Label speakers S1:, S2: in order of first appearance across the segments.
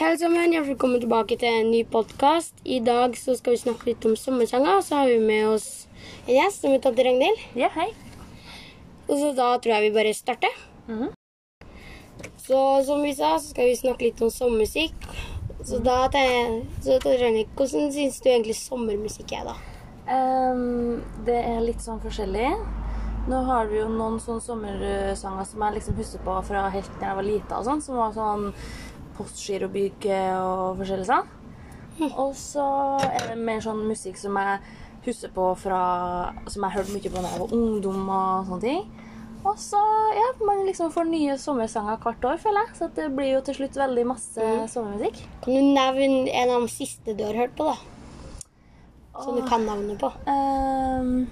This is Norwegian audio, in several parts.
S1: Hei sammen, hjertelig velkommen tilbake til en ny podkast. I dag så skal vi snakke litt om sommersanger, og så har vi med oss en gjest som heter Tante Ragnhild.
S2: Ja, hei.
S1: Og så da tror jeg vi bare starter.
S2: Mhm.
S1: Så som vi sa, så skal vi snakke litt om sommermusikk. Så da tenker jeg, så Tante Ragnhild, hvordan syns du egentlig sommermusikk er, da?
S2: Ehm, det er litt sånn forskjellig. Nå har vi jo noen sånne sommersanger som jeg liksom husker på fra helt da jeg var lita, og sånn, som var sånn Postgirobyrke og forskjellig sånn. Og så er det mer sånn musikk som jeg husker på fra Som jeg hørte mye på da jeg var ungdom og sånne ting. Og så, ja, man liksom får nye sommersanger hvert år, føler jeg. Så at det blir jo til slutt veldig masse sommermusikk.
S1: Kan du nevne en av de siste du har hørt på, da? Som du
S2: Åh.
S1: kan navnet på.
S2: Ehm,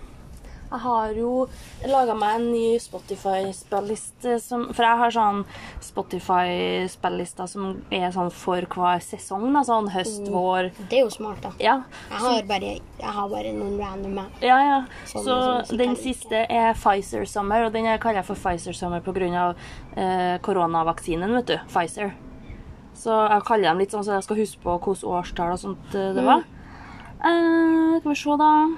S2: jeg har jo laga meg en ny Spotify-spilliste som For jeg har sånn Spotify-spillister som er sånn for hver sesong. Da, sånn høst,
S1: Mm.
S2: vår
S1: Det er jo smart, da.
S2: Ja.
S1: Jeg har bare, jeg har bare noen random her.
S2: Ja, ja.
S1: Sånn,
S2: Så
S1: sånn
S2: den
S1: sikkert
S2: siste er Pfizer Summer, og den jeg kaller jeg for Pfizer Summer pga. Eh, koronavaksinen, vet du. Pfizer. Så jeg kaller dem litt sånn så jeg skal huske på hvilket årstall og sånt eh,
S1: Mm.
S2: det var. Eh, skal vi se, da.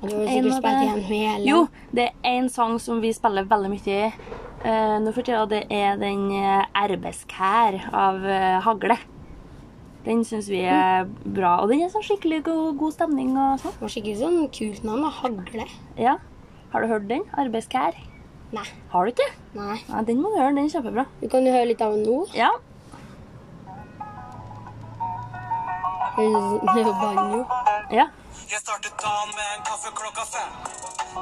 S1: Du har jo
S2: En
S1: sikkert spilt
S2: av det-
S1: igjen hele.
S2: Jo, det er en sang som vi spiller veldig mye i eh, nå for tida. Det er den eh, 'Arbeidskær' av eh, Hagle. Den syns vi er bra. Og den er sånn skikkelig god, god stemning og sånn.
S1: Det var skikkelig sånn kult navn. da. Hagle.
S2: Ja. Har du hørt den? 'Arbeidskær'?
S1: Nei.
S2: Har du ikke?
S1: Nei.
S2: Ja, den må du høre. Den er kjempebra.
S1: Du kan jo høre litt av den nå.
S2: Ja.
S1: Det er jo banjo.
S2: ja.
S3: Jeg startet dagen med en kaffe klokka fem.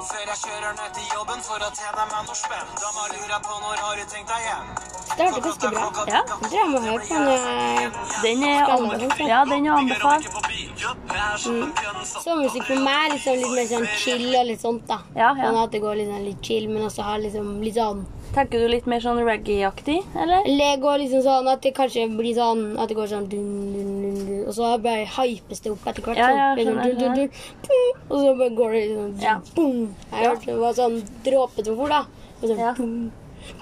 S3: Før jeg kjører ned til jobben for å tjene meg noe spenn. Dama lurer på når har du tenkt deg hjem?
S1: Det hørtes ganske bra.
S2: Ja.
S1: Jeg tror jeg må høre på eh, når jeg
S2: Den er, anbe ja, den er anbefalt.
S1: Mm. Sommermusikk for meg er liksom litt mer sånn chill og litt sånt, da.
S2: Ja, ja.
S1: Sånn at det går litt, sånn litt chill, men også har liksom litt sånn
S2: Tenker du litt mer sånn reggae-aktig, eller?
S1: Eller det går liksom sånn at det kanskje blir sånn At det går sånn dun, dun, dun, dun, Og så bare hypes det opp etter hvert.
S2: Ja,
S1: Sånn,
S2: ja,
S1: Litt sånn
S2: skjønner,
S1: dun, dun, dun, dun, og så bare går det liksom sånn
S2: Ja.
S1: boom. Jeg
S2: Ja.
S1: hørte det var sånn dråpetrofor, da. Og så
S2: Ja.
S1: boom,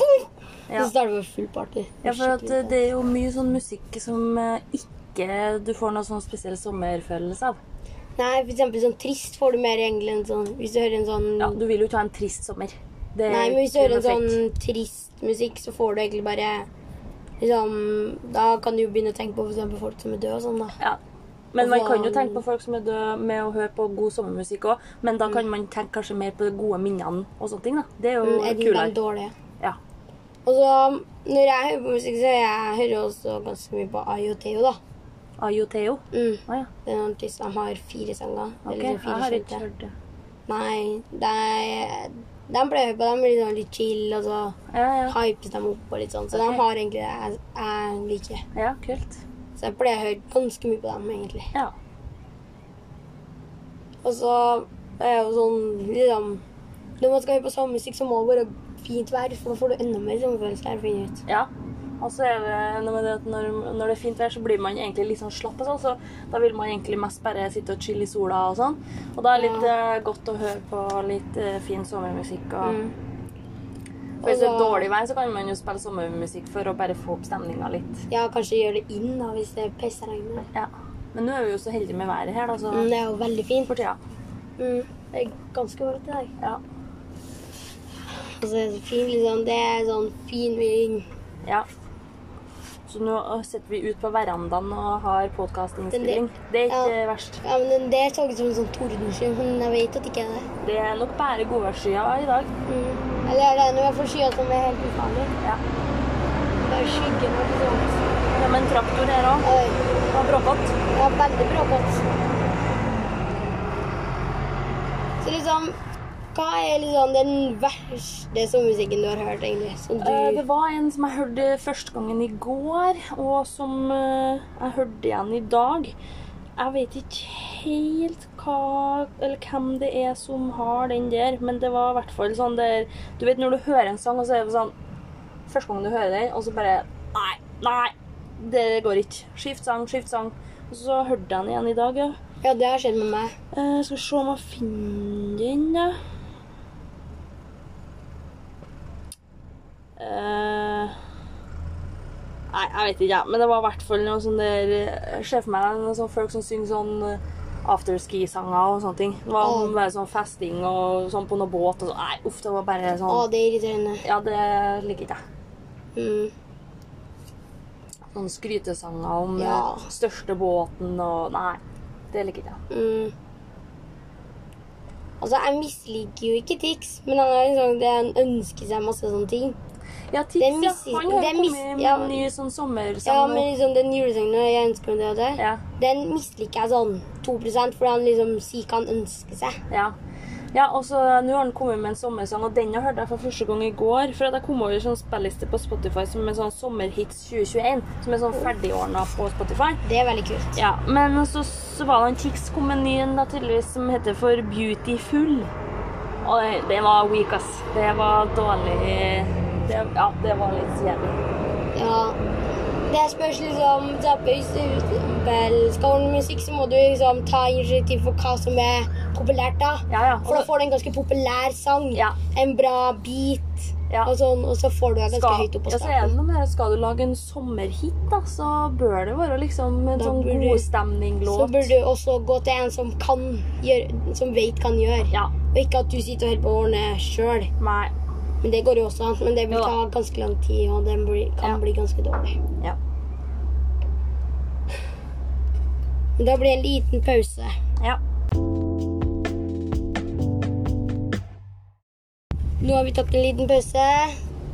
S1: boom.
S2: Ja.
S1: Så starter det full party.
S2: Ja, for at
S1: Skikkelig
S2: det er jo mye sånn musikk som eh, ikke du får noe sånn spesiell sommerfølelse av.
S1: Nei, for eksempel sånn trist får du mer egentlig enn sånn Hvis du hører en sånn
S2: Ja, du vil jo ikke ha en trist sommer. Det er
S1: Nei, men hvis du
S2: ikke
S1: hører en
S2: perfekt.
S1: sånn trist musikk, så får du egentlig bare liksom Da kan du jo begynne å tenke på for eksempel folk som er døde og sånn, da.
S2: ja. Men man
S1: Hva-
S2: kan jo tenke på folk som er døde med å høre på god sommermusikk òg. Men
S1: Mm.
S2: da kan man tenke kanskje mer på de gode minnene og sånne ting. da. Det er jo
S1: Enn de
S2: kulere.
S1: dårlige.
S2: Ja.
S1: Og så når jeg hører på musikk, så jeg hører også ganske mye på Ayo Theo, da.
S2: Ayo Theo.
S1: Mm.
S2: Å ja.
S1: Det er en artist som har fire sanger.
S2: Ok,
S1: Eller
S2: jeg
S1: liksom fire
S2: har ikke
S1: skjønte.
S2: hørt det.
S1: Nei, de, de pleier å høre på dem litt, sånn litt chill, og så
S2: Ja, ja.
S1: hypes de opp og litt sånn. Så
S2: Ok.
S1: de har egentlig det jeg, jeg liker.
S2: ja kult.
S1: Så jeg pleier å høre ganske mye på dem, egentlig.
S2: Ja.
S1: Og så er jo sånn liksom Når man skal høre på sommermusikk, så må det være fint vær, for da får du enda mer sommerfølelse. Jeg finner ut.
S2: ja. Og så er det noe med det at når, når det er fint vær, så blir man egentlig litt sånn slapp. og sånn, så Da vil man egentlig mest bare sitte og chille i sola og sånn. Og da er det litt eh, godt å høre på litt eh, fin sommermusikk. og... For Hvis det er
S1: Mm. Og da-
S2: dårlig vær, så kan man jo spille sommermusikk for å bare få opp stemninga litt.
S1: Ja, kanskje gjøre det inn da, hvis det pisser regn.
S2: Ja. Men nå er vi jo så heldige med været her, da, så
S1: Men det er jo veldig fint.
S2: for tida.
S1: Mm. Det er ganske varmt i dag.
S2: Ja.
S1: Og så er det så fint, liksom. Det er sånn fin vind.
S2: ja. Så nå eh, sitter vi ute på verandaen og har podkastinnspilling.
S1: Den-
S2: Det er ikke
S1: ja.
S2: eh, verst.
S1: Ja, men den der så ut som en sånn tordensky, men jeg vet at det ikke er det.
S2: Det er nok bare godværsskyer i dag.
S1: Mm. Eller det er i hvert fall skyer som er helt ufarlig.
S2: Ja.
S1: Bare skyggen og sånn.
S2: Kom en traktor her òg.
S1: Oi,
S2: Og bråkott.
S1: ja, veldig bra båt. Så liksom, hva er liksom den verste sommermusikken du har hørt, egentlig? Som du...
S2: Eh, Det var en som jeg hørte første gangen i går, og som eh, jeg hørte igjen i dag. Jeg vet ikke helt hva, eller hvem det er som har den der, men det var i hvert fall sånn der Du vet når du hører en sang, og så er det sånn Første gang du hører den, og så bare Nei, nei, det går ikke. Skift sang, skift sang. Og så hørte jeg den igjen i dag, ja.
S1: Ja, det har skjedd med meg.
S2: Eh, skal vi se om jeg finner den, da. Eh, Nei, jeg vet ikke, ja. men det var i hvert fall noe sånn der eh, Jeg ser for meg noen sånne folk som synger sånn eh, afterski-sanger og sånne ting. Det var
S1: Åh.
S2: bare sånn festing og sånn på noen båt og sånn. Nei, uff, det var bare
S1: Å,
S2: sånn
S1: det er irriterende.
S2: Ja, det liker ikke jeg.
S1: Mm.
S2: Sånne skrytesanger om eh,
S1: Ja.
S2: største båten og Nei, det liker ikke jeg.
S1: Mm. Altså, jeg misliker jo ikke Tix, men han er liksom, det han ønsker seg masse sånne ting.
S2: Ja, Tix,
S1: Det
S2: ja.
S1: er miss-
S2: Han har
S1: det er
S2: jo
S1: miss-
S2: kommet med
S1: ja.
S2: en ny sånn sommersang.
S1: Ja,
S2: nå.
S1: men liksom den julesangen og jeg ønsker meg det og det,
S2: ja.
S1: den misliker jeg sånn 2 fordi han liksom sier hva han ønsker seg.
S2: Ja. Ja, og så eh, Nå har han kommet med en sommersang, og den jeg hørte jeg for første gang i går. For at jeg kom over sånn spilliste på Spotify som er sånn Sommerhits 2021. Som er sånn ferdigordna på Spotify.
S1: Det er veldig kult.
S2: Ja, Men så, så var det en Tix kom med en ny en da, tydeligvis, som heter for Beautiful. Og det- det var weak, ass. Det var dårlig det, Ja, det var litt jævlig.
S1: Ja. Det spørs liksom ta på Hvis du for eksempel skal ordne musikk, så må du liksom ta initiativ for hva som er populært da.
S2: Ja, ja.
S1: For da får du en ganske populær sang.
S2: Ja.
S1: En bra beat.
S2: Ja.
S1: Og, sånn, og så får du deg ganske
S2: Skal,
S1: høyt opp på
S2: ja, så er det
S1: starten.
S2: noe med det, skal du lage en sommerhit, da, så bør det være liksom en
S1: Da
S2: sånn
S1: burde-
S2: godstemning-låt.
S1: Så burde du også gå til en som kan gjøre, som vet hva han gjør.
S2: Ja.
S1: Og ikke at du sitter og holder på å ordne sjøl.
S2: Nei.
S1: Men det går jo også an. Men det vil
S2: Jo da.
S1: ta ganske lang tid, og den blir, kan
S2: Ja.
S1: bli ganske dårlig.
S2: Ja.
S1: Men da blir det en liten pause.
S2: ja.
S1: Nå har vi tatt en liten pause,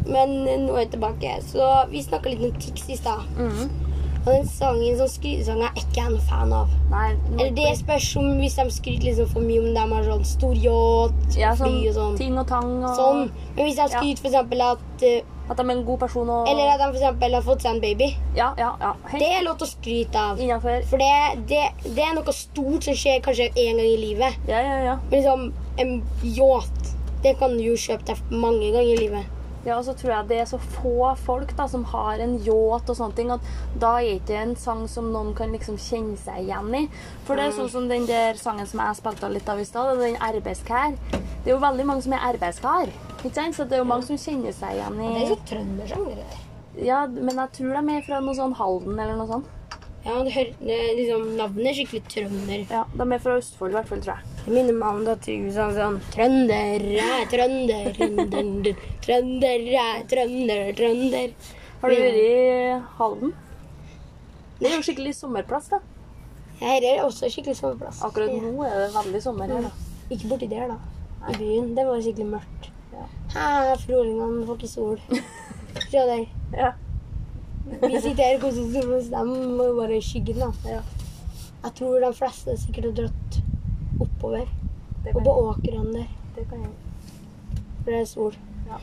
S1: men nå er jeg tilbake. Så vi snakka litt om Tix i stad.
S2: Mm.
S1: Og den sangen som skrytesang er ikke jeg noen fan av.
S2: Nei, nå-
S1: Eller det spørs om hvis de skryter liksom for mye om de har sånn stor yacht,
S2: ja, sånn,
S1: fly og sånn.
S2: Ting og tang og
S1: Sånn. Men hvis de
S2: Ja.
S1: skryter for eksempel at eh,
S2: At de er en god person og
S1: Eller at de for eksempel har fått seg en baby.
S2: Ja, ja, ja. Helt
S1: Det er lov til å skryte av.
S2: innenfor.
S1: For det, det, det er noe stort som skjer kanskje én gang i livet.
S2: Ja, ja, ja.
S1: Men liksom, en yacht det kan du jo kjøpe deg mange ganger i livet.
S2: Ja, og så tror jeg det er så få folk da, som har en yacht og sånne ting, at da er ikke det en sang som noen kan liksom kjenne seg igjen i. For det er
S1: Mm.
S2: sånn som den der sangen som jeg spilte litt av i stad, den 'Arbeidskær'. Det er jo veldig mange som er arbeidskar, ikke sant? Så det er jo mange som kjenner seg igjen
S1: Det er
S2: i
S1: så trøndersjanger, det der.
S2: Ja, men jeg tror de er fra noe sånn Halden eller noe sånt.
S1: Ja, det hører, det, er liksom, navnet er skikkelig trønder.
S2: Ja, De er fra Østfold i hvert fall, tror jeg.
S1: Det minner meg om da Trygve sa sånn Trønder, jeg er trønder, trønder, trønder, jeg er trønder, trønder.
S2: Har du vært i Halden? Det er jo skikkelig sommerplass, da.
S1: Her er også skikkelig soveplass.
S2: Akkurat nå er det veldig sommer her, da.
S1: Ikke borti der, da. I byen. Det var jo skikkelig mørkt.
S2: Ja.
S1: Hæ, frolingene får ikke sol. Se der.
S2: Ja.
S1: Vi sitter her og koser oss, mens de må jo bare i skyggen, da.
S2: Ja.
S1: Jeg tror de fleste sikkert har dratt oppover.
S2: Det
S1: Og på åkrene der,
S2: det kan jeg.
S1: for det er sol.
S2: Ja.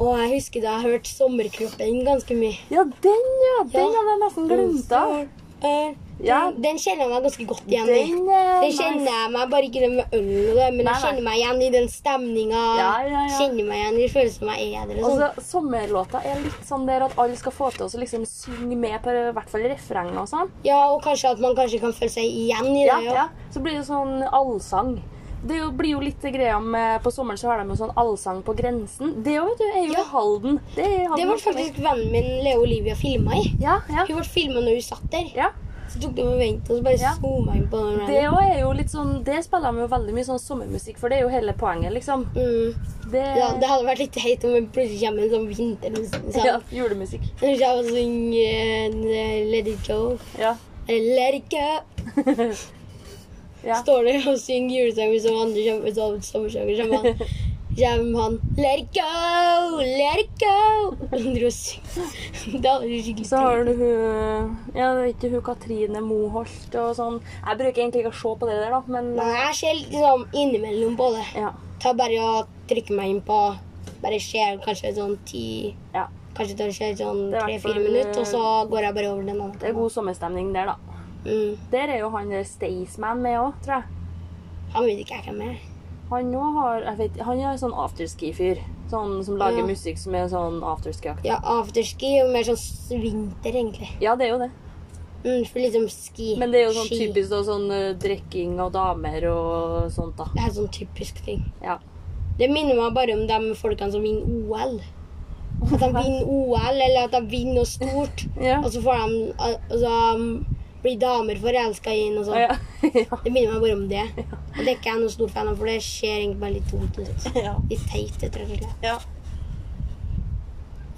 S1: Og jeg husker da jeg hørte sommerkroppen ganske mye.
S2: Ja, den, ja! Den
S1: Ja.
S2: hadde jeg nesten glemt av.
S1: Eh,
S2: Ja.
S1: den, den kjenner jeg meg ganske godt igjen i.
S2: Den eh,
S1: Den kjenner jeg meg bare ikke den med øl og det, men jeg
S2: Nei, nei.
S1: kjenner meg igjen i den stemninga.
S2: Ja, ja, ja.
S1: Kjenner meg igjen i følelsen av at jeg er der og sånn.
S2: Altså, Sommerlåta er litt sånn der at alle skal få til å liksom synge med på i hvert fall refrenget og sånn.
S1: Ja, og kanskje at man kanskje kan føle seg igjen i det.
S2: Ja, ja. Så blir det sånn allsang. Det er jo- blir jo litt greia med På sommeren så har de jo sånn allsang på grensen. Det jo, vet du, er jo
S1: Ja.
S2: i Halden. Det, er i Halden.
S1: Det ble faktisk vennen min Leo Olivia filma i.
S2: Ja, ja.
S1: Hun ble filma når hun satt der.
S2: ja.
S1: Så tok de og ventet, og så bare
S2: Ja.
S1: zooma inn på den.
S2: Det òg er jo litt sånn Det spiller de jo veldig mye sånn sommermusikk, for det er jo hele poenget, liksom.
S1: Mm.
S2: Det,
S1: Ja, det hadde vært litt teit om det plutselig kommer en sånn vintermusikk.
S2: ja,
S1: Sånn.
S2: julemusikk.
S1: Hun kommer og synger eh, Let it go.
S2: Ja.
S1: Eller Let it go.
S2: ja.
S1: Står der og synger julesanger som andre kommer som sommersanger som han. Kommer han Let it go, let it go. Hun dro og synger. Det hadde vært skikkelig
S2: Så har
S1: teit.
S2: du hun Ja, det er ikke hun Katrine Moholt og sånn. Jeg bruker egentlig ikke å se på det der, da, men
S1: Men jeg ser liksom innimellom på det.
S2: Ja.
S1: Ta bare og trykke meg inn på Bare ser kanskje sånn ti
S2: ja.
S1: Kanskje det skjer sånn
S2: Det er i hvert
S1: tre-fire
S2: fall-
S1: minutter, og så går jeg bare over den andre.
S2: eh, Det er god sommerstemning der, da.
S1: Mm.
S2: Der er jo han der Staysman med òg, tror jeg.
S1: Han vet ikke jeg hvem er.
S2: Han òg har jeg vet, Han er sånn afterski-fyr. Sånn som lager
S1: Ja.
S2: musikk som er sånn afterski-aktig.
S1: Ja, afterski er jo mer sånn s- vinter, egentlig.
S2: Ja, det er jo det.
S1: Mm, for liksom ski.
S2: Men det er jo sånn
S1: ski.
S2: typisk da, sånn eh, drikking og damer og sånt, da.
S1: Det er sånn typisk ting.
S2: Ja.
S1: Det minner meg bare om de folkene som vinner OL. At de vinner OL, eller at de vinner noe stort.
S2: Ja.
S1: Og så får de al- Altså um, blir damer forelska i noe
S2: Å,
S1: sånt.
S2: ja. ja.
S1: Det minner meg bare om det. Og det er ikke jeg noen stor fan av, for det ser egentlig bare litt dumt ut.
S2: ja.
S1: Litt teit, rett og slett.
S2: ja.
S1: Og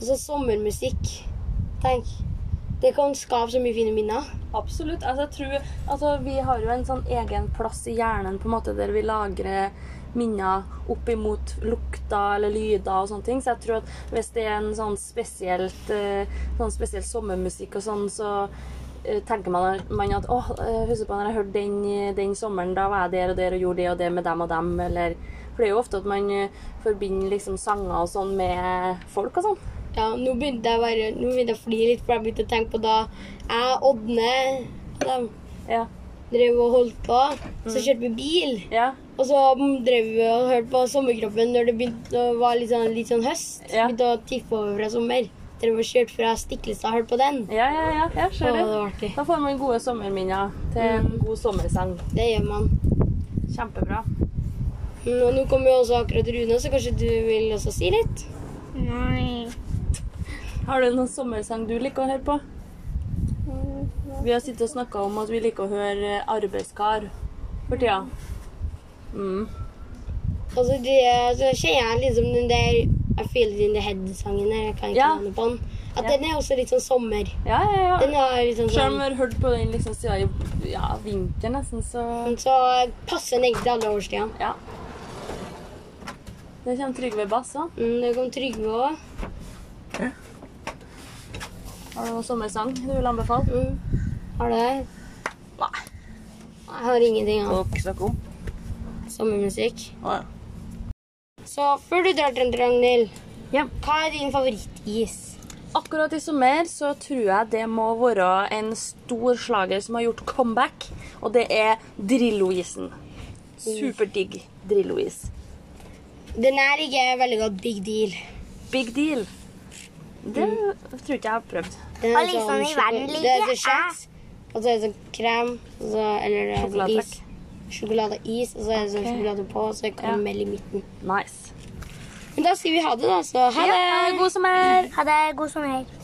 S1: så Altså, sommermusikk. Tenk. Det kan skape så mye fine minner.
S2: Absolutt. Altså, jeg tror, altså, vi har jo en sånn egen plass i hjernen på en måte, der vi lagrer minner opp imot lukter eller lyder og sånne ting. Så jeg tror at hvis det er en sånn spesielt, eh, sånn spesiell sommermusikk og sånn, så eh, tenker man, man at åh, eh, husker på når jeg hørte den, den sommeren, da var jeg der og der og gjorde det og det med dem og dem, eller For det er jo ofte at man eh, forbinder liksom sanger og sånn med folk og sånn.
S1: Ja, nå begynte jeg bare Nå begynte jeg å flire litt, for jeg begynte å tenke på da jeg og Ådne de
S2: Ja.
S1: drev og holdt på. Så kjørte vi bil.
S2: Ja.
S1: Og så drev vi og hørte på sommerkroppen når det begynte å være litt sånn, litt sånn høst.
S2: Ja.
S1: Begynte å tippe over fra sommer. Drev og kjørte fra Stiklestad og hørte på den.
S2: Ja, ja, ja. Jeg ser
S1: Å,
S2: det.
S1: det var artig.
S2: Da får man gode sommerminner til en
S1: Mm.
S2: god sommersang.
S1: Det gjør man.
S2: Kjempebra.
S1: Mm, Og nå kommer jo også akkurat Rune, så kanskje du vil også si litt?
S4: Nei.
S2: Har du noen sommersang du liker å høre på?
S1: Mm,
S2: Vi har sittet og snakka om at vi liker å høre eh, 'Arbeidskar' for tida. Mm.
S1: Altså, det, så kjenner jeg liksom den der I feel it in the head-sangen der. Jeg kan ikke
S2: Ja.
S1: navnet på den. At
S2: Ja.
S1: den er også litt sånn sommer.
S2: Ja, ja,
S1: Den
S2: ja.
S1: er litt sånn
S2: Selv om
S1: sånn
S2: vi har hørt på den liksom siden i ja, vinter nesten, så
S1: sånn, Så passer den egentlig alle årstidene.
S2: Ja. Det kommer Trygve Bass òg.
S1: Mm, det kom Trygve òg.
S2: Har du noen sommersang du vil anbefale?
S1: Mm. Har du det?
S2: Nei.
S1: Jeg har ingenting annet.
S2: Dere snakker om?
S1: Sommermusikk.
S2: Å, ja.
S1: Så før du drar til en Ragnhild,
S2: Ja.
S1: hva er din favorittis?
S2: Akkurat i sommer så tror jeg det må være en stor slager som har gjort comeback, og det er Drillo-isen. Superdigg Drillo-is.
S1: Den er ikke veldig godt big deal.
S2: Big deal. Det tror ikke jeg har prøvd.
S1: Den
S4: Og liksom i
S1: sjoko-
S4: verden
S1: sånn Det er
S4: ligger
S1: så kjeks, og så er det sånn krem, og så, eller det er sånn is.
S2: Sjokoladetrekk.
S1: Sjokoladeis, og så er det sånn
S2: Ok.
S1: sjokolade på, og så er det karamell i midten.
S2: Nice.
S1: Men da sier vi ha det, da. Så ha det!
S2: Ja, god sommer!
S4: Ha det. God sommer.